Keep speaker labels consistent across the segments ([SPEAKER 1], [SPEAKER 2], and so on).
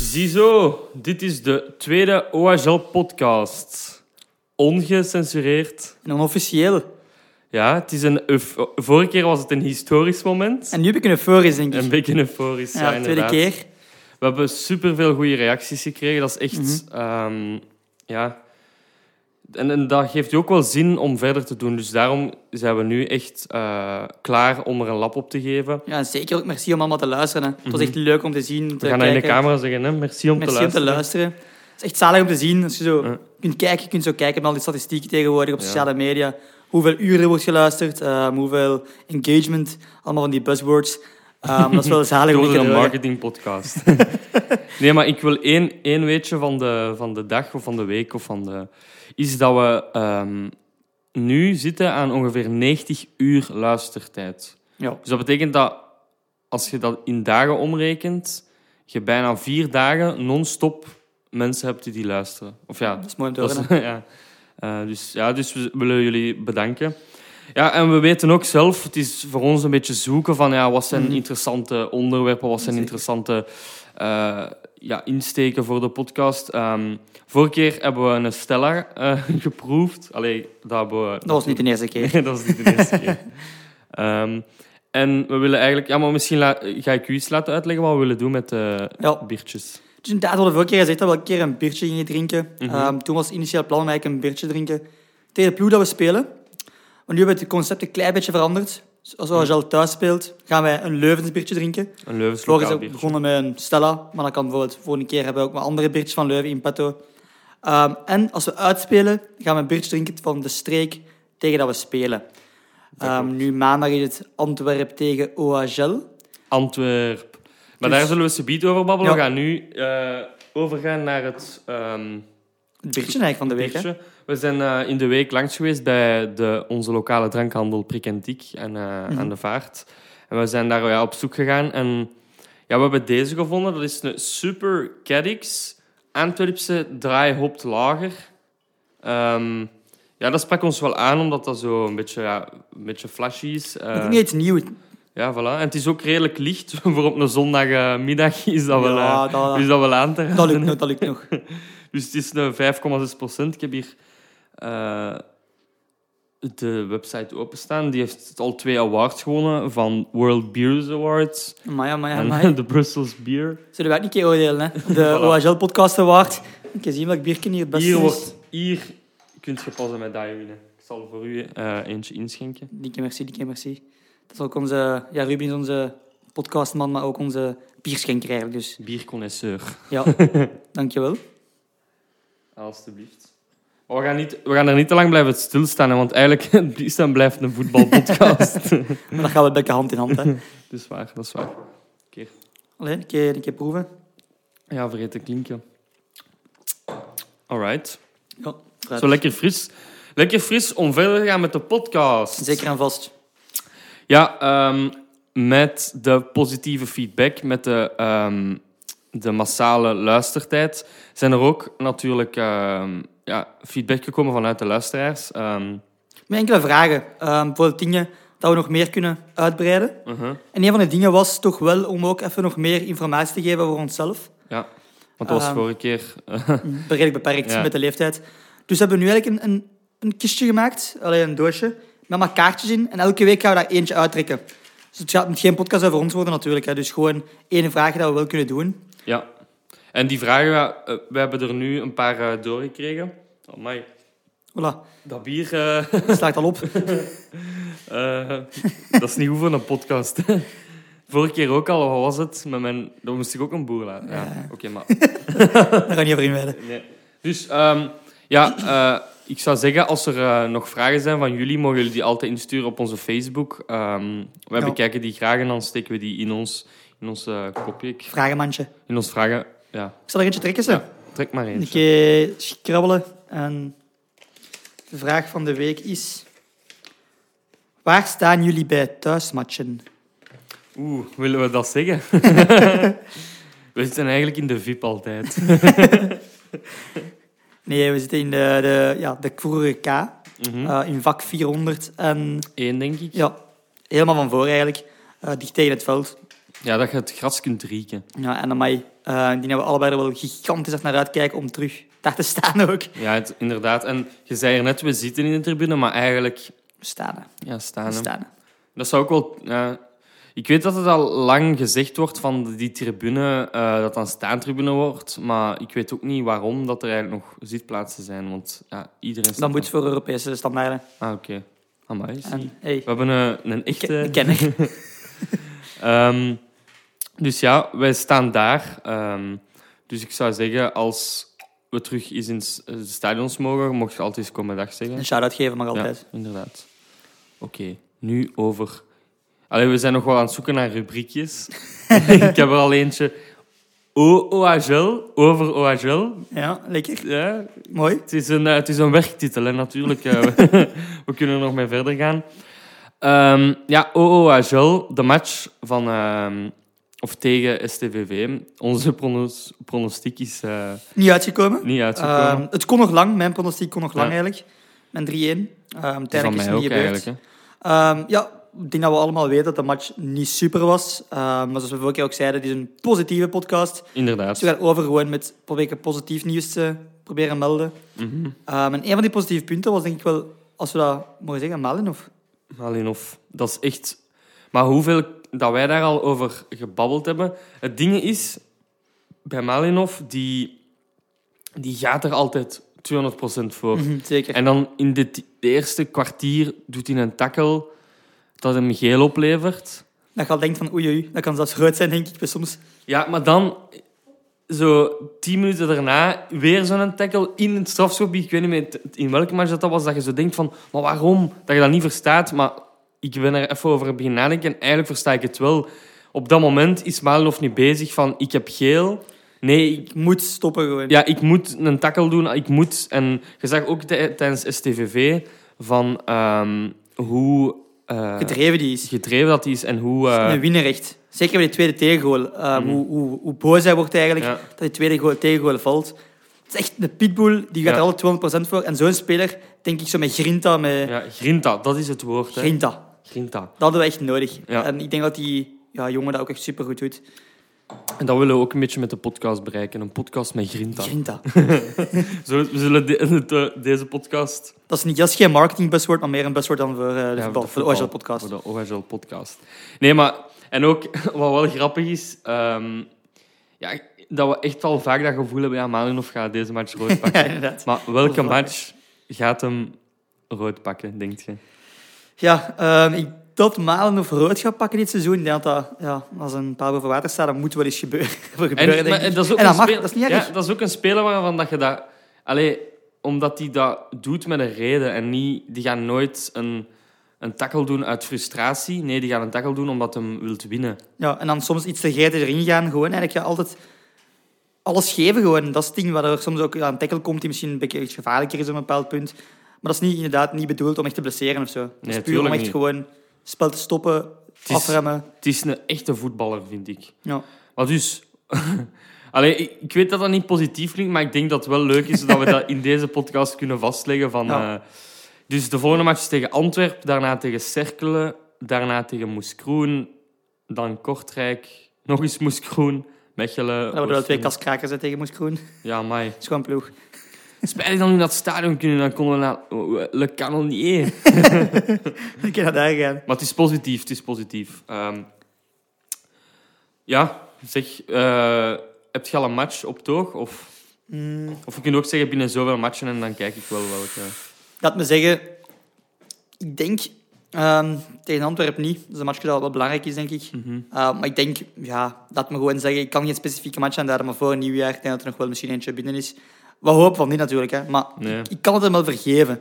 [SPEAKER 1] Ziezo, dit is de tweede OHL-podcast. Ongecensureerd.
[SPEAKER 2] En onofficieel.
[SPEAKER 1] Ja, het is een... euf- Vorige keer was het een historisch moment.
[SPEAKER 2] En nu heb ik een euforisch, denk ik.
[SPEAKER 1] Een beetje euforisch, ja,
[SPEAKER 2] ja, de tweede
[SPEAKER 1] inderdaad.
[SPEAKER 2] keer.
[SPEAKER 1] We hebben superveel goede reacties gekregen. Dat is echt...
[SPEAKER 2] Mhm.
[SPEAKER 1] ehm, ja... En, en dat geeft je ook wel zin om verder te doen. Dus daarom zijn we nu echt eh, klaar om er een lap op te geven.
[SPEAKER 2] Ja, en zeker ook merci om allemaal te luisteren. Hè. Het was echt leuk om te zien, te
[SPEAKER 1] Mhm. We gaan dat in
[SPEAKER 2] kijken.
[SPEAKER 1] de camera zeggen, hè. Merci om
[SPEAKER 2] merci
[SPEAKER 1] te
[SPEAKER 2] om te
[SPEAKER 1] luisteren.
[SPEAKER 2] luisteren. Het is echt zalig om te zien. Als je zo
[SPEAKER 1] Ja.
[SPEAKER 2] kunt kijken, je kunt zo kijken met al die statistieken tegenwoordig op
[SPEAKER 1] Ja.
[SPEAKER 2] sociale media. Hoeveel uren er wordt geluisterd, ehm, hoeveel engagement, allemaal van die buzzwords. Ehm, dat is wel zalig om te
[SPEAKER 1] Door een
[SPEAKER 2] horen.
[SPEAKER 1] marketingpodcast. nee, maar ik wil één, één weetje van de, van de dag of van de week of van de... Is dat we ehm, nu zitten aan ongeveer 90 uur luistertijd.
[SPEAKER 2] Ja.
[SPEAKER 1] Dus dat betekent dat als je dat in dagen omrekent, je bijna vier dagen non-stop mensen hebt die die luisteren. Of ja,
[SPEAKER 2] Dat is mooi om te
[SPEAKER 1] dat
[SPEAKER 2] horen.
[SPEAKER 1] is- ja. Eh, dus, ja, dus we willen jullie bedanken. Ja, en we weten ook zelf, het is voor ons een beetje zoeken van ja, wat zijn
[SPEAKER 2] Mhm.
[SPEAKER 1] interessante onderwerpen, wat zijn
[SPEAKER 2] Zeker.
[SPEAKER 1] interessante eh, ja, insteken voor de podcast. Ehm vorige keer hebben we een Stellar eh, geproefd. Allee, dat hebben we...
[SPEAKER 2] Dat was niet de eerste keer.
[SPEAKER 1] dat was niet de eerste keer. Ehm, en we willen eigenlijk... Ja, maar misschien la- ga ik u iets laten uitleggen wat we willen doen met de
[SPEAKER 2] Ja.
[SPEAKER 1] biertjes.
[SPEAKER 2] Dus inderdaad hadden we vorige keer gezegd dat we elke keer een biertje gingen drinken.
[SPEAKER 1] Mhm.
[SPEAKER 2] Ehm, toen was het initieel plan om eigenlijk een biertje te drinken tegen de ploeg dat we spelen. Maar nu hebben we het concept een klein beetje veranderd. Dus
[SPEAKER 1] Mhm.
[SPEAKER 2] als Argel thuis speelt, gaan wij een Leuvens biertje drinken.
[SPEAKER 1] Een Leuvens
[SPEAKER 2] Vorig is
[SPEAKER 1] lokaal
[SPEAKER 2] ook
[SPEAKER 1] biertje.
[SPEAKER 2] begonnen met een Stella, maar dat kan bijvoorbeeld volgende keer hebben we ook maar andere biertjes van Leuven in petto. Ehm, en als we uitspelen, gaan we een biertje drinken van de streek tegen dat we spelen.
[SPEAKER 1] Dat
[SPEAKER 2] Ehm,
[SPEAKER 1] klopt.
[SPEAKER 2] nu maandag is het Antwerpen tegen OHL.
[SPEAKER 1] Antwerp. Maar
[SPEAKER 2] Dus-
[SPEAKER 1] daar zullen we subiet over babbelen. We
[SPEAKER 2] Ja.
[SPEAKER 1] gaan nu eh, overgaan naar het ehm
[SPEAKER 2] Het biertje eigenlijk van de week. hè?
[SPEAKER 1] biertje. We zijn eh, in de week langs geweest bij de, onze lokale drankhandel Prik en Tik en, eh,
[SPEAKER 2] Mhm.
[SPEAKER 1] aan de Vaart. En we zijn daar ja, op zoek gegaan. En ja, we hebben deze gevonden. Dat is een Super Cadix Antwerpse draaihopt lager. Ehm, ja, dat sprak ons wel aan, omdat dat zo een beetje, ja, een beetje flashy is.
[SPEAKER 2] Ik
[SPEAKER 1] Eh,
[SPEAKER 2] denk niet iets nieuws.
[SPEAKER 1] ja, voilà. En het is ook redelijk licht. Voor op een zondagmiddag is dat, wel,
[SPEAKER 2] Ja,
[SPEAKER 1] eh,
[SPEAKER 2] dat-
[SPEAKER 1] is dat wel aan te
[SPEAKER 2] Dat
[SPEAKER 1] raden.
[SPEAKER 2] lukt nog, dat lukt nog.
[SPEAKER 1] Dus het is een 5,6 procent. Ik heb hier eh, de website openstaan. Die heeft al twee awards gewonnen van World Beers Awards
[SPEAKER 2] Maar ja, maar ja,
[SPEAKER 1] en
[SPEAKER 2] maar ja.
[SPEAKER 1] de Brussels Beer.
[SPEAKER 2] Zullen wij ook een keer oordelen, hè? De
[SPEAKER 1] Voilà.
[SPEAKER 2] OHL-podcast waard. Ik zie welk bierken hier het beste
[SPEAKER 1] Hier,
[SPEAKER 2] is.
[SPEAKER 1] wordt, hier kunt je passen met dat winnen. Ik zal voor u eh, eentje inschenken.
[SPEAKER 2] Dikke merci, dikke merci. Dat is ook onze... Ja, Ruben is onze podcastman, maar ook onze bierschenker eigenlijk. Dus
[SPEAKER 1] Bierconnoisseur,
[SPEAKER 2] ja, dankjewel.
[SPEAKER 1] alstublieft. Maar we gaan, niet, we gaan er niet te lang blijven stilstaan, hè, want eigenlijk is en blijft een voetbalpodcast.
[SPEAKER 2] Maar dat gaan we lekker hand in hand, hè.
[SPEAKER 1] Dat is waar, dat is waar.
[SPEAKER 2] Alleen, een keer, een keer proeven.
[SPEAKER 1] Ja, vergeet te klinken. Alright.
[SPEAKER 2] Ja, fruit.
[SPEAKER 1] Zo lekker fris. Lekker fris om verder te gaan met de podcast.
[SPEAKER 2] Zeker en vast.
[SPEAKER 1] Ja, ehm, met de positieve feedback, met de, ehm, de massale luistertijd, zijn er ook natuurlijk ehm, ja, feedback gekomen vanuit de luisteraars. Ehm,
[SPEAKER 2] Met enkele vragen. Ehm bijvoorbeeld dingen dat we nog meer kunnen uitbreiden.
[SPEAKER 1] mhm,
[SPEAKER 2] En een van de dingen was toch wel om ook even nog meer informatie te geven voor onszelf.
[SPEAKER 1] Ja, want dat was
[SPEAKER 2] Ehm.
[SPEAKER 1] vorige keer. eh,
[SPEAKER 2] redelijk beperkt
[SPEAKER 1] Ja.
[SPEAKER 2] met de leeftijd. Dus hebben we nu eigenlijk een, een, een kistje gemaakt, alleen een doosje, met allemaal kaartjes in. En elke week gaan we daar eentje uittrekken. Dus het gaat geen podcast over ons worden natuurlijk. Hè. Dus gewoon één vraag dat we wel kunnen doen.
[SPEAKER 1] Ja. En die vragen, ja, eh, we hebben er nu een paar eh, doorgekregen. Amai,
[SPEAKER 2] Voilà,
[SPEAKER 1] dat bier... eh,
[SPEAKER 2] dat slaat al op.
[SPEAKER 1] Eh, dat is niet goed voor een podcast. Vorige keer ook al, wat was het? Met mijn... Dan moest ik ook een boer laten. Ja. Oké, maar...
[SPEAKER 2] Daar gaan we niet over inwijden.
[SPEAKER 1] Nee. Dus ehm, ja, eh, ik zou zeggen, als er eh, nog vragen zijn van jullie, mogen jullie die altijd insturen op onze Facebook. Ehm wij
[SPEAKER 2] Ja.
[SPEAKER 1] bekijken die graag en dan steken we die in ons, in ons eh, kopje. Ik-
[SPEAKER 2] Vragenmandje.
[SPEAKER 1] In ons vragen... Ja,
[SPEAKER 2] Ik zal er eentje trekken, ze.
[SPEAKER 1] Ja, trek maar
[SPEAKER 2] een
[SPEAKER 1] eentje.
[SPEAKER 2] keer krabbelen. En de vraag van de week is... Waar staan jullie bij thuismatchen?
[SPEAKER 1] Oeh, willen we dat zeggen? we zitten eigenlijk in de VIP altijd.
[SPEAKER 2] Nee, we zitten in de, de, ja, de vroegere K,
[SPEAKER 1] Mhm.
[SPEAKER 2] eh, in vak 400 en
[SPEAKER 1] Eén, denk ik.
[SPEAKER 2] Ja, helemaal van voor eigenlijk. eh dicht tegen het veld.
[SPEAKER 1] Ja, dat je het gras kunt rieken.
[SPEAKER 2] Ja, en dan mij Eh, die hebben we allebei er wel gigantisch hard naar uitkijken om terug daar te staan ook.
[SPEAKER 1] Ja, het- inderdaad. En je zei er net, we zitten in de tribune, maar eigenlijk
[SPEAKER 2] Staan, hè.
[SPEAKER 1] ja, staan. hè.
[SPEAKER 2] staan. hè.
[SPEAKER 1] Dat zou ook wel... ja. ik weet dat het al lang gezegd wordt van die tribune, eh, dat dan staantribune wordt. Maar ik weet ook niet waarom dat er eigenlijk nog zitplaatsen zijn. Want ja, iedereen staat
[SPEAKER 2] Dus Dan moet je voor Europese standaarden.
[SPEAKER 1] Ah, oké. Amai, zie. eh,
[SPEAKER 2] En, hey,
[SPEAKER 1] We hebben een, een
[SPEAKER 2] ik
[SPEAKER 1] echte...
[SPEAKER 2] ken- ik ken ik.
[SPEAKER 1] Ehm, dus ja, wij staan daar. Ehm, dus ik zou zeggen, als we terug eens in s- eh, de stadions mogen, mocht je altijd eens komen dag zeggen.
[SPEAKER 2] Een shout-out geven mag altijd.
[SPEAKER 1] Ja, inderdaad. Oké, nu over... Allee, we zijn nog wel aan het zoeken naar rubriekjes. ik heb er al eentje. O- OHL, over OHL.
[SPEAKER 2] Ja, lekker.
[SPEAKER 1] Ja,
[SPEAKER 2] Mooi.
[SPEAKER 1] het is een, eh, het is een werktitel, hè, natuurlijk. eh, we, we kunnen er nog mee verder gaan. Ehm ja, OO Agel, de match van, ehm, of tegen STVV. Onze pronos- pronostiek is eh,
[SPEAKER 2] Niet uitgekomen.
[SPEAKER 1] niet uitgekomen.
[SPEAKER 2] Ehm, het kon nog lang. Mijn pronostiek kon nog
[SPEAKER 1] Ja.
[SPEAKER 2] lang eigenlijk. Mijn 3-1. Ehm
[SPEAKER 1] Dat is
[SPEAKER 2] tijdelijk is het
[SPEAKER 1] ook
[SPEAKER 2] niet gebeurd.
[SPEAKER 1] eigenlijk, hè.
[SPEAKER 2] Ehm, ja, ik denk dat we allemaal weten dat de match niet super was. Ehm, maar zoals we vorige keer ook zeiden, dit is een positieve podcast.
[SPEAKER 1] Inderdaad.
[SPEAKER 2] Dus we gaan over gewoon met proberen positief nieuws te proberen melden.
[SPEAKER 1] Mhm.
[SPEAKER 2] Ehm, en een van die positieve punten was denk ik wel, als we dat mogen zeggen, Malinov.
[SPEAKER 1] Alleen of, dat is echt... Maar hoeveel dat wij daar al over gebabbeld hebben... Het ding is, bij Malinov, die, die gaat er altijd 200% voor.
[SPEAKER 2] Mhm, Zeker.
[SPEAKER 1] Oh. En dan in dit- de, eerste kwartier doet hij een tackle dat hem geel oplevert.
[SPEAKER 2] Dat je al denkt van oei oei, dat kan zelfs rood zijn denk ik bij soms.
[SPEAKER 1] Ja, maar dan zo tien minuten daarna weer zo'n tackle in het strafschopgebied. Ik weet niet meer t- in welke match dat dat was, dat je zo denkt van, maar waarom? Dat je dat niet verstaat, maar ik ben er even over beginnen nadenken en eigenlijk versta ik het wel. Op dat moment is Malinov niet bezig van, ik heb geel. Nee, ik
[SPEAKER 2] Ik moet stoppen gewoon.
[SPEAKER 1] Ja, ik moet een tackle doen. Ik moet. En je zag ook tij- tijdens STVV van ehm, hoe eh,
[SPEAKER 2] Gedreven die is.
[SPEAKER 1] gedreven dat hij is en hoe. eh, Mhm.
[SPEAKER 2] Een winnarecht. Zeker bij die tweede tegengoal. Ehm, hoe, hoe, hoe boos hij wordt eigenlijk
[SPEAKER 1] Ja.
[SPEAKER 2] dat die tweede goal, tegengoal valt. Het is echt een pitbull, die gaat
[SPEAKER 1] Ja.
[SPEAKER 2] er alle 200% voor. En zo'n speler, denk ik zo met grinta, met
[SPEAKER 1] ja, grinta, dat is het woord. Hè.
[SPEAKER 2] grinta.
[SPEAKER 1] Grinta.
[SPEAKER 2] Dat hadden we echt nodig.
[SPEAKER 1] Ja.
[SPEAKER 2] En ik denk dat die ja, jongen dat ook echt supergoed doet.
[SPEAKER 1] En dat willen we ook een beetje met de podcast bereiken. Een podcast met grinta.
[SPEAKER 2] Grinta.
[SPEAKER 1] Zullen- we zullen de- het, eh, deze podcast.
[SPEAKER 2] Dat is, niet, dat is geen marketingbuzzword, maar meer een buzzword dan voor eh, de
[SPEAKER 1] Ja,
[SPEAKER 2] voetbal, voor de
[SPEAKER 1] voetbal,
[SPEAKER 2] OHL podcast.
[SPEAKER 1] Voor de OHL podcast. Nee, maar... En ook, wat wel grappig is... ehm, ja, dat we echt wel vaak dat gevoel hebben... Ja, Malinov gaat deze match rood pakken.
[SPEAKER 2] Ja, inderdaad.
[SPEAKER 1] Maar welke match gaat hem rood pakken, denk je?
[SPEAKER 2] Ja, ehm, ik, dat Malen of Rood gaat pakken dit seizoen, ik denk dat, dat ja, als een paar boven water staat, dat moet wel eens gebeuren. voor gebeuren denk ik.
[SPEAKER 1] dat is ook
[SPEAKER 2] En
[SPEAKER 1] een
[SPEAKER 2] dat mag,
[SPEAKER 1] speel-
[SPEAKER 2] dat is niet erg.
[SPEAKER 1] Ja, dat is ook een speler waarvan dat je dat... Allee, omdat hij dat doet met een reden en niet... Die gaan nooit een, een tackle doen uit frustratie. Nee, die gaan een tackle doen omdat hem wilt winnen.
[SPEAKER 2] Ja, en dan soms iets te gretig erin gaan. Gewoon eigenlijk ja, altijd alles geven. Gewoon. Dat is het ding waar er soms ook aan een tackle komt die misschien een beetje iets gevaarlijker is op een bepaald punt. Maar dat is niet, inderdaad niet bedoeld om echt te blesseren of zo. Het
[SPEAKER 1] Nee,
[SPEAKER 2] is puur om
[SPEAKER 1] tuurlijk
[SPEAKER 2] echt
[SPEAKER 1] niet.
[SPEAKER 2] gewoon het spel te stoppen,
[SPEAKER 1] is-
[SPEAKER 2] afremmen.
[SPEAKER 1] Het is een echte voetballer, vind ik.
[SPEAKER 2] Ja.
[SPEAKER 1] Maar dus... Allee, ik, ik weet dat dat niet positief klinkt, maar ik denk dat het wel leuk is dat we dat in deze podcast kunnen vastleggen. Van,
[SPEAKER 2] Ja.
[SPEAKER 1] eh, dus de volgende match is tegen Antwerpen, daarna tegen Cerkelen, daarna tegen Moeskroen, dan Kortrijk, nog eens Moeskroen, Mechelen.
[SPEAKER 2] Dat worden wel twee
[SPEAKER 1] Oostende.
[SPEAKER 2] kaskrakers hè, tegen Moes Groen. Dat
[SPEAKER 1] Ja, mij.
[SPEAKER 2] is gewoon ploeg.
[SPEAKER 1] Spijtig dat we in dat stadion kunnen, dan konden we naar Le Canonier.
[SPEAKER 2] Dan kan dat daar gaan.
[SPEAKER 1] Maar het is positief, het is positief. Ehm, ja, zeg, eh, heb je al een match op toog? Of...
[SPEAKER 2] Mm,
[SPEAKER 1] Of we kunnen ook zeggen binnen zoveel matchen en dan kijk ik wel welke.
[SPEAKER 2] laat me zeggen, ik denk ehm, tegen Antwerpen niet. Dat is een match dat wel belangrijk is, denk ik.
[SPEAKER 1] Mhm.
[SPEAKER 2] Uh, maar ik denk, ja, laat me gewoon zeggen, ik kan geen specifieke match aanduiden, maar voor een nieuwjaar denk ik dat er nog wel misschien eentje binnen is. We hopen van niet natuurlijk, hè, maar
[SPEAKER 1] Nee.
[SPEAKER 2] ik, ik kan het hem wel vergeven.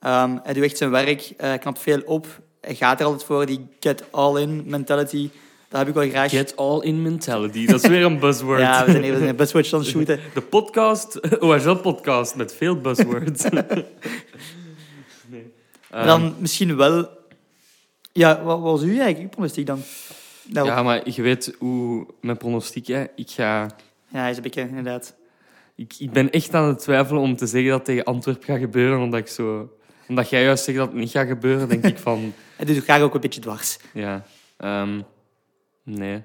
[SPEAKER 2] Ehm, hij doet echt zijn werk, eh, hij knapt veel op, hij gaat er altijd voor, die get all in mentality, dat heb ik wel graag.
[SPEAKER 1] Get all in mentality. Dat is weer een buzzword.
[SPEAKER 2] ja, we zijn even een buzzwords aan het shooten.
[SPEAKER 1] De podcast, OHL podcast met veel buzzwords. Nee.
[SPEAKER 2] Maar
[SPEAKER 1] Ehm,
[SPEAKER 2] dan misschien wel, ja, wat, wat was u eigenlijk, uw pronostiek dan? Nou, ja.
[SPEAKER 1] ja, maar je weet hoe mijn pronostiek, hè. Ik, ga,
[SPEAKER 2] hij is een beetje, inderdaad.
[SPEAKER 1] ik, ik ben echt aan het twijfelen om te zeggen dat het tegen Antwerpen gaat gebeuren, omdat ik zo... Omdat jij juist zegt dat het niet gaat gebeuren, denk ik van...
[SPEAKER 2] Hij doet het graag ook een beetje dwars.
[SPEAKER 1] Ja. ehm, nee.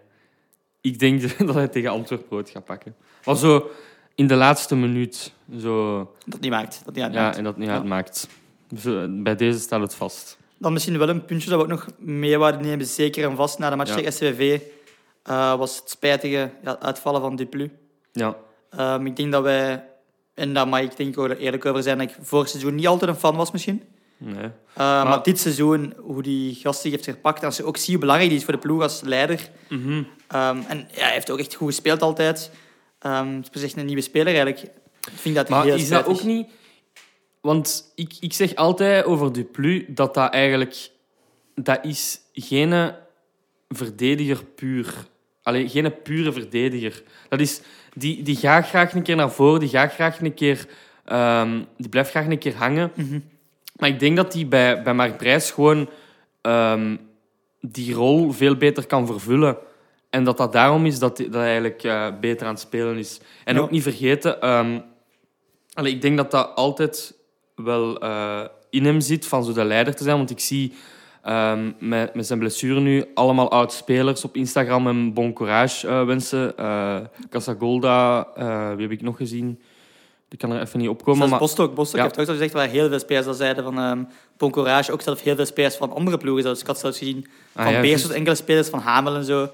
[SPEAKER 1] Ik denk dat hij tegen Antwerpen rood gaat pakken. Maar zo in de laatste minuut. Zo,
[SPEAKER 2] Dat niet maakt. Dat niet
[SPEAKER 1] ja,
[SPEAKER 2] uitmaakt.
[SPEAKER 1] en dat niet
[SPEAKER 2] Ja.
[SPEAKER 1] uitmaakt. Zo, bij deze staat het vast.
[SPEAKER 2] Dan misschien wel een puntje dat we ook nog mee wouden nemen, zeker en vast. Na de match
[SPEAKER 1] Ja.
[SPEAKER 2] tegen SCVV eh, was het spijtige ja, uitvallen van Duplu.
[SPEAKER 1] Ja,
[SPEAKER 2] Ehm, ik denk dat wij, en daar mag ik denk ik ook eerlijk over zijn, dat ik vorig seizoen niet altijd een fan was misschien.
[SPEAKER 1] nee.
[SPEAKER 2] Eh, maar, dit seizoen, hoe die gast zich heeft gepakt, en als je ook ziet hoe belangrijk die is voor de ploeg als leider.
[SPEAKER 1] Mhm.
[SPEAKER 2] Ehm, en ja, hij heeft ook echt goed gespeeld altijd. Ehm het is echt een nieuwe speler eigenlijk. Ik vind dat
[SPEAKER 1] Maar
[SPEAKER 2] heel
[SPEAKER 1] is dat
[SPEAKER 2] spijtig.
[SPEAKER 1] ook niet... Want ik, ik zeg altijd over Duplu dat dat eigenlijk... Dat is geen verdediger puur. Allee, geen pure verdediger. Dat is... Die, die gaat graag een keer naar voren, die gaat graag een keer... ehm, die blijft graag een keer hangen.
[SPEAKER 2] Mhm.
[SPEAKER 1] Maar ik denk dat die bij, bij Mark Brijs gewoon... ehm, die rol veel beter kan vervullen. En dat dat daarom is dat, dat hij eigenlijk eh, beter aan het spelen is. En
[SPEAKER 2] Ja.
[SPEAKER 1] ook niet vergeten, ehm, allee, ik denk dat dat altijd wel eh, in hem zit van zo de leider te zijn. Want ik zie ehm, met, met zijn blessure nu allemaal oud-spelers op Instagram hem bon courage eh, wensen. Eh Casagolda, eh, wie heb ik nog gezien? Die kan er even niet opkomen.
[SPEAKER 2] Zelfs
[SPEAKER 1] Maar,
[SPEAKER 2] Bostock, Bostock
[SPEAKER 1] Ja.
[SPEAKER 2] heeft ook zo gezegd waar heel veel spelers al zeiden van ehm Bon Courage, ook zelf heel veel spelers van andere ploegen. Zelfs, ik had zelfs gezien
[SPEAKER 1] Ah,
[SPEAKER 2] van
[SPEAKER 1] ja,
[SPEAKER 2] Beers
[SPEAKER 1] juist.
[SPEAKER 2] tot enkele spelers van Hamel en zo.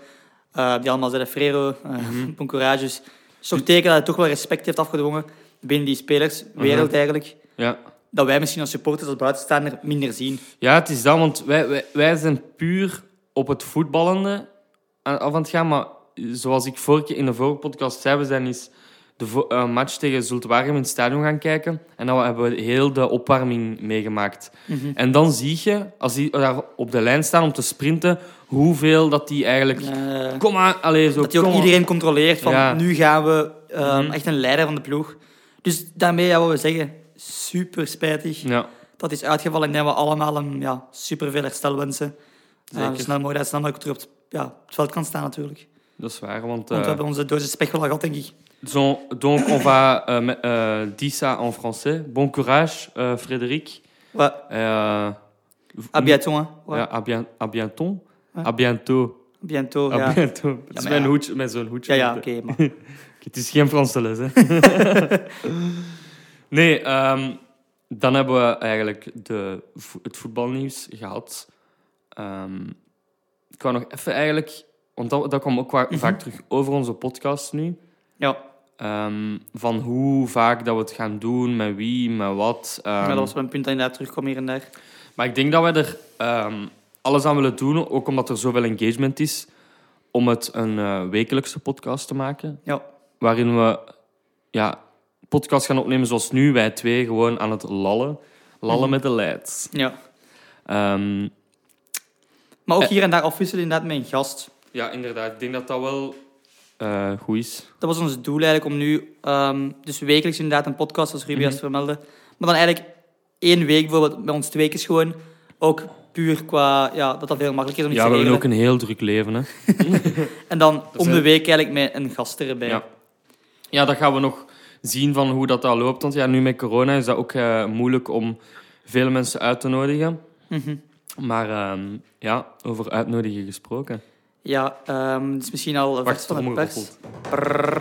[SPEAKER 2] eh, die allemaal zeiden Frero, eh
[SPEAKER 1] Mhm.
[SPEAKER 2] Bon Courage. Dus het is toch teken dat hij toch wel respect heeft afgedwongen binnen die spelerswereld
[SPEAKER 1] Mhm.
[SPEAKER 2] eigenlijk.
[SPEAKER 1] ja.
[SPEAKER 2] Dat wij misschien als supporters, als buitenstaander, minder zien.
[SPEAKER 1] Ja, het is dat, want wij, wij, wij zijn puur op het voetballende aan- af aan het gaan. Maar zoals ik vorige, keer in de vorige podcast zei, we zijn eens de vo- eh, match tegen Zulte Waregem in het stadion gaan kijken. En dan hebben we heel de opwarming meegemaakt.
[SPEAKER 2] Mhm.
[SPEAKER 1] En dan zie je, als die daar op de lijn staan om te sprinten, hoeveel dat die eigenlijk...
[SPEAKER 2] Eh,
[SPEAKER 1] Kom maar, allez, zo,
[SPEAKER 2] dat hij ook
[SPEAKER 1] kom aan.
[SPEAKER 2] iedereen controleert van
[SPEAKER 1] Ja.
[SPEAKER 2] nu gaan we ehm,
[SPEAKER 1] Mhm.
[SPEAKER 2] echt een leider van de ploeg. Dus daarmee ja, wat we zeggen, super spijtig.
[SPEAKER 1] Ja,
[SPEAKER 2] dat is uitgevallen. Ik denk dat we allemaal hem ja, super veel herstel wensen.
[SPEAKER 1] Zeker. Eh.
[SPEAKER 2] Eh, snel mooi dat hij snel ook terug op het, ja, op het veld kan staan natuurlijk.
[SPEAKER 1] dat is waar, want...
[SPEAKER 2] Want we
[SPEAKER 1] eh
[SPEAKER 2] hebben onze dosis pech wel al gehad, denk ik.
[SPEAKER 1] donc, donc on va eh, me- eh, dire ça en français. Bon courage, eh Frédéric.
[SPEAKER 2] Wat?
[SPEAKER 1] Eh,
[SPEAKER 2] À Ah, bientôt, hè. Wat?
[SPEAKER 1] Ja, euh, à, bien, à bientôt.
[SPEAKER 2] Ja.
[SPEAKER 1] À bientôt.
[SPEAKER 2] Bientôt,
[SPEAKER 1] À
[SPEAKER 2] ja.
[SPEAKER 1] Ah, bientôt. Het is
[SPEAKER 2] maar
[SPEAKER 1] mijn
[SPEAKER 2] ja.
[SPEAKER 1] hoedje, met zo'n hoedje.
[SPEAKER 2] Ja, ja,
[SPEAKER 1] Met,
[SPEAKER 2] oké,
[SPEAKER 1] eh,
[SPEAKER 2] maar...
[SPEAKER 1] Het is geen Franse les, hè. nee, ehm, dan hebben we eigenlijk de, vo- het voetbalnieuws gehad. Ehm, ik wou nog even eigenlijk... Want dat, dat kwam ook wa-
[SPEAKER 2] Mhm.
[SPEAKER 1] vaak terug over onze podcast nu.
[SPEAKER 2] Ja,
[SPEAKER 1] Ehm, van hoe vaak dat we het gaan doen, met wie, met wat. ehm,
[SPEAKER 2] maar dat was wel een punt dat inderdaad terugkwam hier en daar.
[SPEAKER 1] maar ik denk dat wij er ehm, alles aan willen doen, ook omdat er zoveel engagement is, om het een eh, wekelijkse podcast te maken.
[SPEAKER 2] Ja.
[SPEAKER 1] Waarin we ja, podcast gaan opnemen zoals nu, wij twee gewoon aan het lallen. Lallen met de leids.
[SPEAKER 2] ja.
[SPEAKER 1] Ehm,
[SPEAKER 2] Maar ook
[SPEAKER 1] Eh.
[SPEAKER 2] hier en daar afwisselen inderdaad met een gast.
[SPEAKER 1] ja, inderdaad. Ik denk dat dat wel eh, goed is.
[SPEAKER 2] Dat was ons doel eigenlijk om nu... ehm, dus wekelijks inderdaad een podcast, zoals
[SPEAKER 1] Mhm.
[SPEAKER 2] Ruby juist vermeldde. Maar dan eigenlijk één week bijvoorbeeld, bij ons twee keer gewoon. Ook puur qua... Ja, dat dat veel makkelijker is om iets
[SPEAKER 1] Ja,
[SPEAKER 2] te
[SPEAKER 1] we hebben
[SPEAKER 2] regelen.
[SPEAKER 1] ook een heel druk leven. Hè.
[SPEAKER 2] En dan om de
[SPEAKER 1] zijn-
[SPEAKER 2] week eigenlijk met een gast erbij.
[SPEAKER 1] Ja. ja, dat gaan we nog zien van hoe dat, dat loopt. Want ja, nu met corona is dat ook eh, moeilijk om vele mensen uit te nodigen.
[SPEAKER 2] Mhm.
[SPEAKER 1] Maar ehm, ja, over uitnodigen gesproken.
[SPEAKER 2] Ja, ehm, het is misschien al vers
[SPEAKER 1] Wacht,
[SPEAKER 2] van de
[SPEAKER 1] trommel
[SPEAKER 2] pers.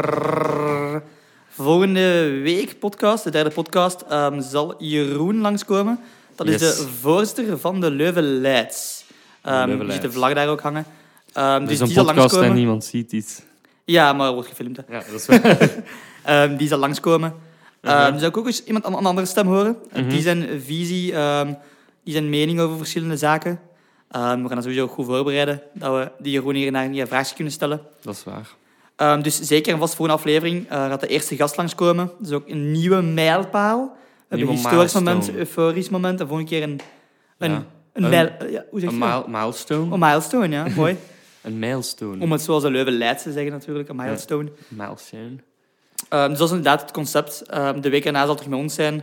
[SPEAKER 2] Prrrr. Volgende week podcast, de derde podcast, ehm, zal Jeroen langskomen. Dat is
[SPEAKER 1] Yes.
[SPEAKER 2] de voorzitter van de Leuven Leids. Ehm,
[SPEAKER 1] Leuven
[SPEAKER 2] die ziet de
[SPEAKER 1] Leids.
[SPEAKER 2] vlag daar ook hangen. Ehm,
[SPEAKER 1] Het
[SPEAKER 2] dus
[SPEAKER 1] is
[SPEAKER 2] die
[SPEAKER 1] een
[SPEAKER 2] zal
[SPEAKER 1] podcast en
[SPEAKER 2] langskomen.
[SPEAKER 1] niemand ziet iets.
[SPEAKER 2] Ja, maar wordt gefilmd. hè.
[SPEAKER 1] Ja, dat is waar.
[SPEAKER 2] Ehm, die zal langskomen. Ehm
[SPEAKER 1] Mhm.
[SPEAKER 2] dus zou ik ook eens iemand aan een andere stem horen. Eh,
[SPEAKER 1] Mhm.
[SPEAKER 2] Die zijn visie, ehm, die zijn mening over verschillende zaken. Ehm, we gaan dat sowieso goed voorbereiden, dat we die Jeroen hier naar een vraagje kunnen stellen.
[SPEAKER 1] dat is waar.
[SPEAKER 2] Ehm, dus zeker en vast voor een aflevering eh, gaat de eerste gast langskomen. Dat is ook een nieuwe mijlpaal. We hebben een
[SPEAKER 1] Nieuwe
[SPEAKER 2] historisch moment,
[SPEAKER 1] milestone.
[SPEAKER 2] euforisch moment. En volgende keer een... Een,
[SPEAKER 1] Ja.
[SPEAKER 2] een,
[SPEAKER 1] Een-
[SPEAKER 2] mijl... eh, ja, hoe zeg
[SPEAKER 1] Een
[SPEAKER 2] je dat?
[SPEAKER 1] mile- milestone.
[SPEAKER 2] Een milestone, ja. Mooi.
[SPEAKER 1] Een milestone.
[SPEAKER 2] Om het zoals de Leuven Leidse zeggen natuurlijk, een milestone.
[SPEAKER 1] milestone.
[SPEAKER 2] Ehm, dus dat is inderdaad het concept. Ehm, de week erna zal terug met ons zijn.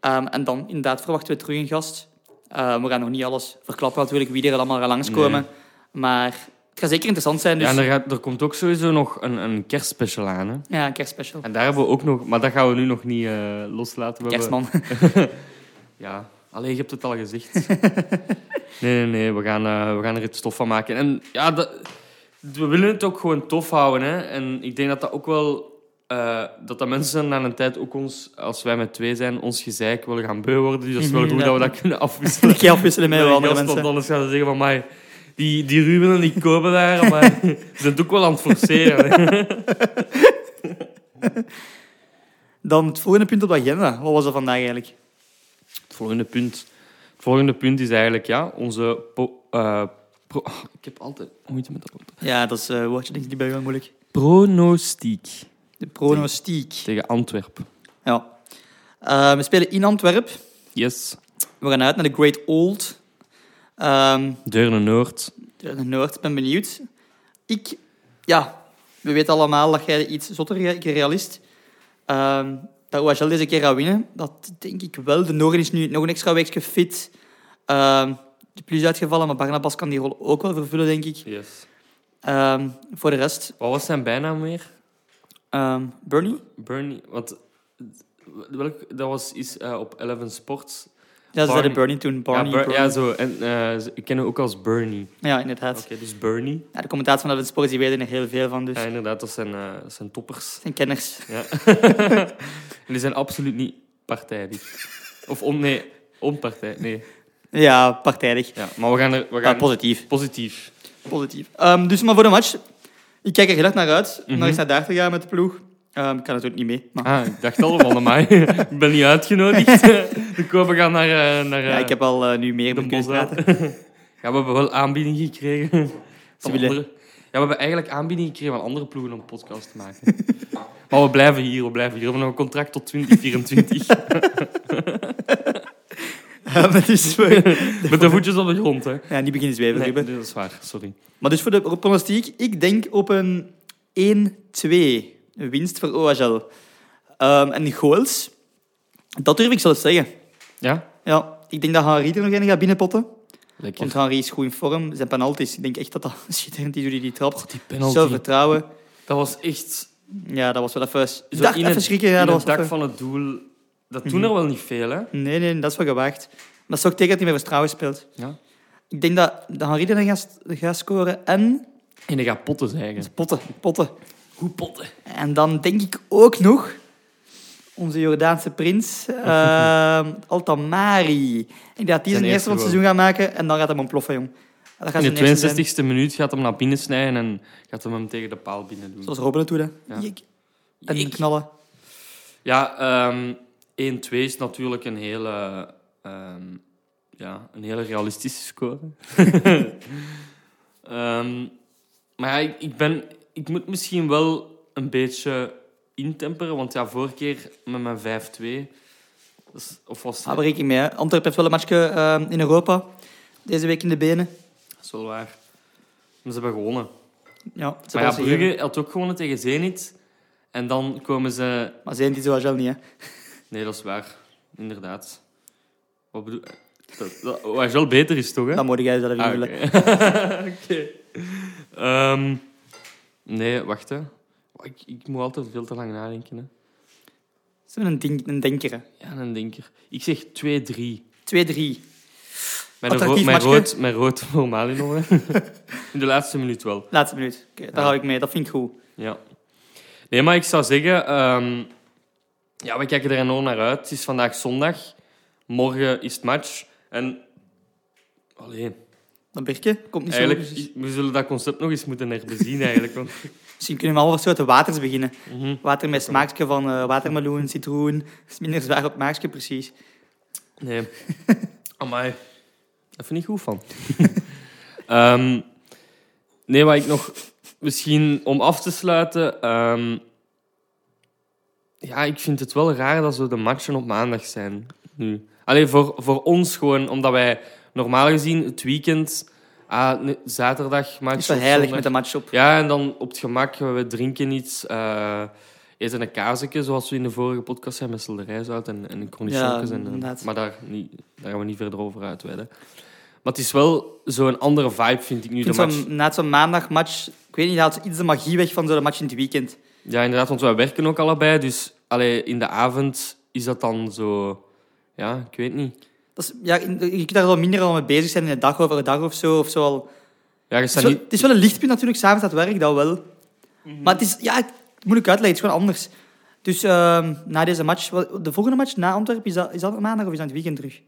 [SPEAKER 2] Ehm, en dan inderdaad verwachten we terug een gast. Ehm, we gaan nog niet alles verklappen natuurlijk, wie er allemaal gaat langskomen. Maar het gaat zeker interessant zijn. Dus,
[SPEAKER 1] Ja, en
[SPEAKER 2] ja,
[SPEAKER 1] er, gaat- er komt ook sowieso nog een, een kerstspecial aan. Hè?
[SPEAKER 2] een kerstspecial.
[SPEAKER 1] En daar hebben we ook nog... Maar dat gaan we nu nog niet eh, loslaten. We hebben-
[SPEAKER 2] Kerstman.
[SPEAKER 1] Ja. Allee, je hebt het al gezegd. nee, nee, nee. We gaan, eh, we gaan er het stof van maken. En ja, dat, we willen het ook gewoon tof houden. Hè? En ik denk dat dat ook wel... eh, dat dat mensen na een tijd ook ons, als wij met twee zijn, ons gezeik willen gaan beu worden. Dus dat is wel
[SPEAKER 2] Mhm,
[SPEAKER 1] goed
[SPEAKER 2] ja.
[SPEAKER 1] dat we dat kunnen afwisselen.
[SPEAKER 2] Een keer afwisselen met
[SPEAKER 1] Nee,
[SPEAKER 2] wel andere
[SPEAKER 1] gast,
[SPEAKER 2] mensen.
[SPEAKER 1] Want anders gaan ze zeggen van, mij die, die Ruben en die komen daar, maar ze zijn het ook wel aan het forceren.
[SPEAKER 2] Dan het volgende punt op de agenda. Wat was dat vandaag eigenlijk?
[SPEAKER 1] Het volgende punt. Het volgende punt is eigenlijk, ja, onze... po- eh, pro- oh, ik heb altijd moeite met dat woord.
[SPEAKER 2] Ja, dat is, eh, woordje denk ik niet bij jou moeilijk.
[SPEAKER 1] Pronostiek
[SPEAKER 2] De pronostiek.
[SPEAKER 1] tegen Antwerpen.
[SPEAKER 2] Ja. Eh, we spelen in Antwerpen.
[SPEAKER 1] Yes.
[SPEAKER 2] We gaan uit naar de Great Old. Ehm
[SPEAKER 1] Deurne Noord.
[SPEAKER 2] de Noord, ik ben benieuwd. Ik, ja, we weten allemaal dat jij iets zotter bent, ik realist. Ehm dat OHL deze keer gaat winnen, dat denk ik wel. De Noorden is nu nog een extra weekje fit. Ehm, de plus is uitgevallen, maar Barnabas kan die rol ook wel vervullen, denk ik.
[SPEAKER 1] Yes.
[SPEAKER 2] Ehm, voor de rest,
[SPEAKER 1] Wat was zijn bijnaam weer?
[SPEAKER 2] ehm, Bernie?
[SPEAKER 1] Bernie, want... Welk, dat was is, eh, op Eleven Sports.
[SPEAKER 2] Ja, ze zeiden
[SPEAKER 1] Barney.
[SPEAKER 2] Bernie toen. Barney,
[SPEAKER 1] ja, Ber-
[SPEAKER 2] Bernie.
[SPEAKER 1] ja,
[SPEAKER 2] Ja,
[SPEAKER 1] zo. En, eh, ze- ik ken hem ook als Bernie.
[SPEAKER 2] inderdaad.
[SPEAKER 1] Oké, dus Bernie.
[SPEAKER 2] Ja, de commentator van de Sports die weten er heel veel van, dus
[SPEAKER 1] Ja, inderdaad, dat zijn, eh, dat zijn toppers.
[SPEAKER 2] het zijn kenners.
[SPEAKER 1] Ja. Jullie zijn absoluut niet partijdig. Of on, nee, onpartij. Nee.
[SPEAKER 2] Ja, partijdig.
[SPEAKER 1] Ja, maar we gaan er we
[SPEAKER 2] Maar
[SPEAKER 1] gaan
[SPEAKER 2] positief.
[SPEAKER 1] positief.
[SPEAKER 2] Positief. Ehm, dus maar voor de match. Ik kijk er heel erg naar uit. Om
[SPEAKER 1] Mhm.
[SPEAKER 2] naar eens naar daar te gaan met de ploeg. Ehm, ik kan natuurlijk niet mee. Maar
[SPEAKER 1] Ah, ik dacht al van mij. ik ben niet uitgenodigd. De kopen gaan naar, eh, naar eh,
[SPEAKER 2] ja, ik heb al eh, nu meer
[SPEAKER 1] de
[SPEAKER 2] met kunnen
[SPEAKER 1] bos
[SPEAKER 2] praten.
[SPEAKER 1] uit. ja, we hebben wel aanbiedingen gekregen. Van
[SPEAKER 2] willen-
[SPEAKER 1] andere... Ja, we hebben eigenlijk aanbiedingen gekregen van andere ploegen om een podcast te maken. maar we blijven hier, we blijven hier. We hebben nog een contract tot 2024.
[SPEAKER 2] Ja, maar dus we-
[SPEAKER 1] Met de voetjes op de grond, hè.
[SPEAKER 2] ja, niet beginnen zweven.
[SPEAKER 1] Nee,
[SPEAKER 2] Ruben.
[SPEAKER 1] dat is waar, sorry.
[SPEAKER 2] Maar dus voor de pronostiek. Ik denk op een 1-2 winst voor OHL. Ehm, en goals. Dat durf ik zelfs zeggen.
[SPEAKER 1] Ja?
[SPEAKER 2] Ja, ik denk dat Henri er nog een gaat binnenpotten.
[SPEAKER 1] Lekker.
[SPEAKER 2] Want Henri is goed in vorm. Zijn penalties. Ik denk echt dat dat schitterend is hoe hij die trap.
[SPEAKER 1] Die
[SPEAKER 2] Zelfvertrouwen.
[SPEAKER 1] Dat was echt...
[SPEAKER 2] Ja, dat was wel even... Zo
[SPEAKER 1] Zo
[SPEAKER 2] dacht
[SPEAKER 1] in het,
[SPEAKER 2] even schrikken. Ja,
[SPEAKER 1] in
[SPEAKER 2] dat was
[SPEAKER 1] het dak
[SPEAKER 2] even- Mhm.
[SPEAKER 1] van het doel. Dat doen er wel niet veel, hè?
[SPEAKER 2] Nee, nee, dat is wel gewaagd. Maar dat is ook tegen dat hij met vertrouwen speelt.
[SPEAKER 1] Ja.
[SPEAKER 2] Ik denk dat de Henri dan gaat, gaat scoren en
[SPEAKER 1] En die gaat potten zeggen.
[SPEAKER 2] potten, potten.
[SPEAKER 1] Hoe potten?
[SPEAKER 2] En dan denk ik ook nog onze Jordaanse prins, ehm, Altamari. Ik denk dat die
[SPEAKER 1] eerste
[SPEAKER 2] zijn eerste van
[SPEAKER 1] goal.
[SPEAKER 2] het seizoen gaat maken en dan gaat hem ontploffen, jong. Dat gaat
[SPEAKER 1] In de
[SPEAKER 2] zijn eerste
[SPEAKER 1] 62e
[SPEAKER 2] zijn.
[SPEAKER 1] minuut gaat hem naar binnen snijden en gaat hem hem tegen de paal binnen doen.
[SPEAKER 2] Zoals Robben het doet, hè.
[SPEAKER 1] Ja.
[SPEAKER 2] Jik. En
[SPEAKER 1] Jik.
[SPEAKER 2] knallen.
[SPEAKER 1] Ja, ehm 1-2 is natuurlijk een hele, ehm, ja, een hele realistische score. Ehm, maar ja, ik, ik, ben, ik moet misschien wel een beetje intemperen, want ja, vorige keer met mijn 5-2... dat is- Of was
[SPEAKER 2] Hou er rekening mee, hè. Antwerpen heeft wel een matchje ehm, in Europa. Deze week in de benen.
[SPEAKER 1] Dat is wel waar. Maar ze hebben gewonnen.
[SPEAKER 2] Ja, ze
[SPEAKER 1] maar ja,
[SPEAKER 2] was hier.
[SPEAKER 1] Brugge had ook gewonnen tegen Zenit. En dan komen ze...
[SPEAKER 2] Maar zijn die zoals wel niet, hè.
[SPEAKER 1] Nee, dat is waar. Inderdaad. Wat bedoel... Dat, dat, OHL beter is toch, hè?
[SPEAKER 2] Dan moet jij zelf
[SPEAKER 1] Ah,
[SPEAKER 2] invullen.
[SPEAKER 1] oké. Oké. Ehm, nee, wacht, hè. Ik, ik moet altijd veel te lang nadenken, hè.
[SPEAKER 2] Ze hebben een, denk- een denker, hè.
[SPEAKER 1] Ja, een denker. Ik zeg 2-3.
[SPEAKER 2] 2-3.
[SPEAKER 1] Met, een ro-
[SPEAKER 2] Attractief
[SPEAKER 1] met,
[SPEAKER 2] matchje.
[SPEAKER 1] rood, met rood voor Malino, hè. In de laatste minuut wel.
[SPEAKER 2] Laatste minuut. Oké, daar
[SPEAKER 1] Ja.
[SPEAKER 2] hou ik mee. Dat vind ik goed.
[SPEAKER 1] Ja. Nee, maar ik zou zeggen... ehm, ja, we kijken er enorm naar uit. Het is vandaag zondag. Morgen is het match. En... Allee,
[SPEAKER 2] Dan Birke, komt niet zo
[SPEAKER 1] eigenlijk...
[SPEAKER 2] goed, dus-
[SPEAKER 1] We zullen dat concept nog eens moeten herbezien, eigenlijk. Want,
[SPEAKER 2] Misschien kunnen we allemaal wat soorten waters beginnen.
[SPEAKER 1] Mhm.
[SPEAKER 2] Water met smaakje van eh, watermeloen, citroen. Dat is minder zwaar op het maakje, precies.
[SPEAKER 1] Nee. Amai. Daar vind ik goed van. Ehm, nee, wat ik nog... Misschien om af te sluiten... ehm, ja, ik vind het wel raar dat zo de matchen op maandag zijn nu. Alleen voor, voor ons gewoon, omdat wij normaal gezien het weekend... Ah, nee, zaterdag match
[SPEAKER 2] Het is wel
[SPEAKER 1] of
[SPEAKER 2] heilig
[SPEAKER 1] zondag.
[SPEAKER 2] met de match op.
[SPEAKER 1] Ja, en dan op het gemak, we drinken iets, eh, eten een kaasje, zoals we in de vorige podcast zijn met selderijzout en, en cornichons.
[SPEAKER 2] Ja,
[SPEAKER 1] en, eh,
[SPEAKER 2] inderdaad.
[SPEAKER 1] maar daar, niet, daar gaan we niet verder over uitweiden. Maar het is wel zo'n andere vibe, vind ik nu.
[SPEAKER 2] Ik
[SPEAKER 1] De
[SPEAKER 2] vind zo'n-
[SPEAKER 1] match.
[SPEAKER 2] na zo'n maandagmatch, ik weet niet, dat haalt iets de magie weg van zo'n match in het weekend.
[SPEAKER 1] Ja, inderdaad, want wij werken ook allebei. Dus allee, in de avond is dat dan zo... Ja, ik weet niet.
[SPEAKER 2] Dat is, ja, in- je kunt daar wel minder al mee bezig zijn in de dag, overdag of zo. Mhm. Of zo al
[SPEAKER 1] Ja, je
[SPEAKER 2] Het is,
[SPEAKER 1] staat
[SPEAKER 2] wel,
[SPEAKER 1] niet...
[SPEAKER 2] het is wel een lichtpunt natuurlijk, s'avonds aan het werk, dat wel. Maar het is, ja, het- moeilijk uitleggen, het is gewoon anders. Dus ehm, na deze match, wel, de volgende match na Antwerpen, is dat, is dat maandag of is dat het weekend terug?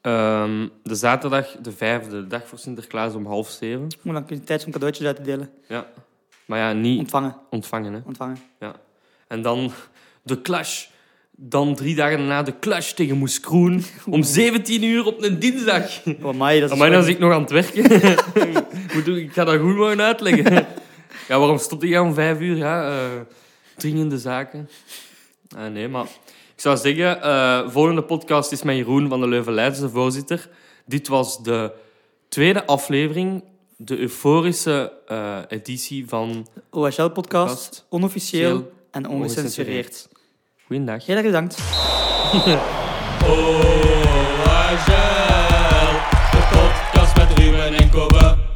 [SPEAKER 1] Ehm, de zaterdag, de vijfde, de dag voor Sinterklaas om half zeven.
[SPEAKER 2] Moet dan kun je tijd om cadeautjes uit te delen.
[SPEAKER 1] Ja. Maar ja, niet
[SPEAKER 2] Ontvangen,
[SPEAKER 1] ontvangen, hè.
[SPEAKER 2] ontvangen.
[SPEAKER 1] Ja. En dan de clash. Dan drie dagen daarna de clash tegen Moes Kroen. Om 17 uur op een dinsdag.
[SPEAKER 2] Oh, amai, dat is
[SPEAKER 1] Maar dan
[SPEAKER 2] wel-
[SPEAKER 1] is ik nog aan het werken. Moet ik- ik ga dat goed mogen uitleggen. Ja, waarom stopte jij om vijf uur? Ja, eh, dringende zaken. Ah, nee, maar ik zou zeggen, eh, volgende podcast is met Jeroen van de Leuven Leidens, de voorzitter. Dit was de tweede aflevering, de euforische eh, editie van
[SPEAKER 2] OSL-podcast,
[SPEAKER 1] Podcast.
[SPEAKER 2] onofficieel
[SPEAKER 1] Officieel.
[SPEAKER 2] en
[SPEAKER 1] Ongecensureerd.
[SPEAKER 2] ongecensureerd.
[SPEAKER 1] Goeiedag.
[SPEAKER 2] Heel erg bedankt.
[SPEAKER 3] Courageur, de podcast met Ruben en Koppen.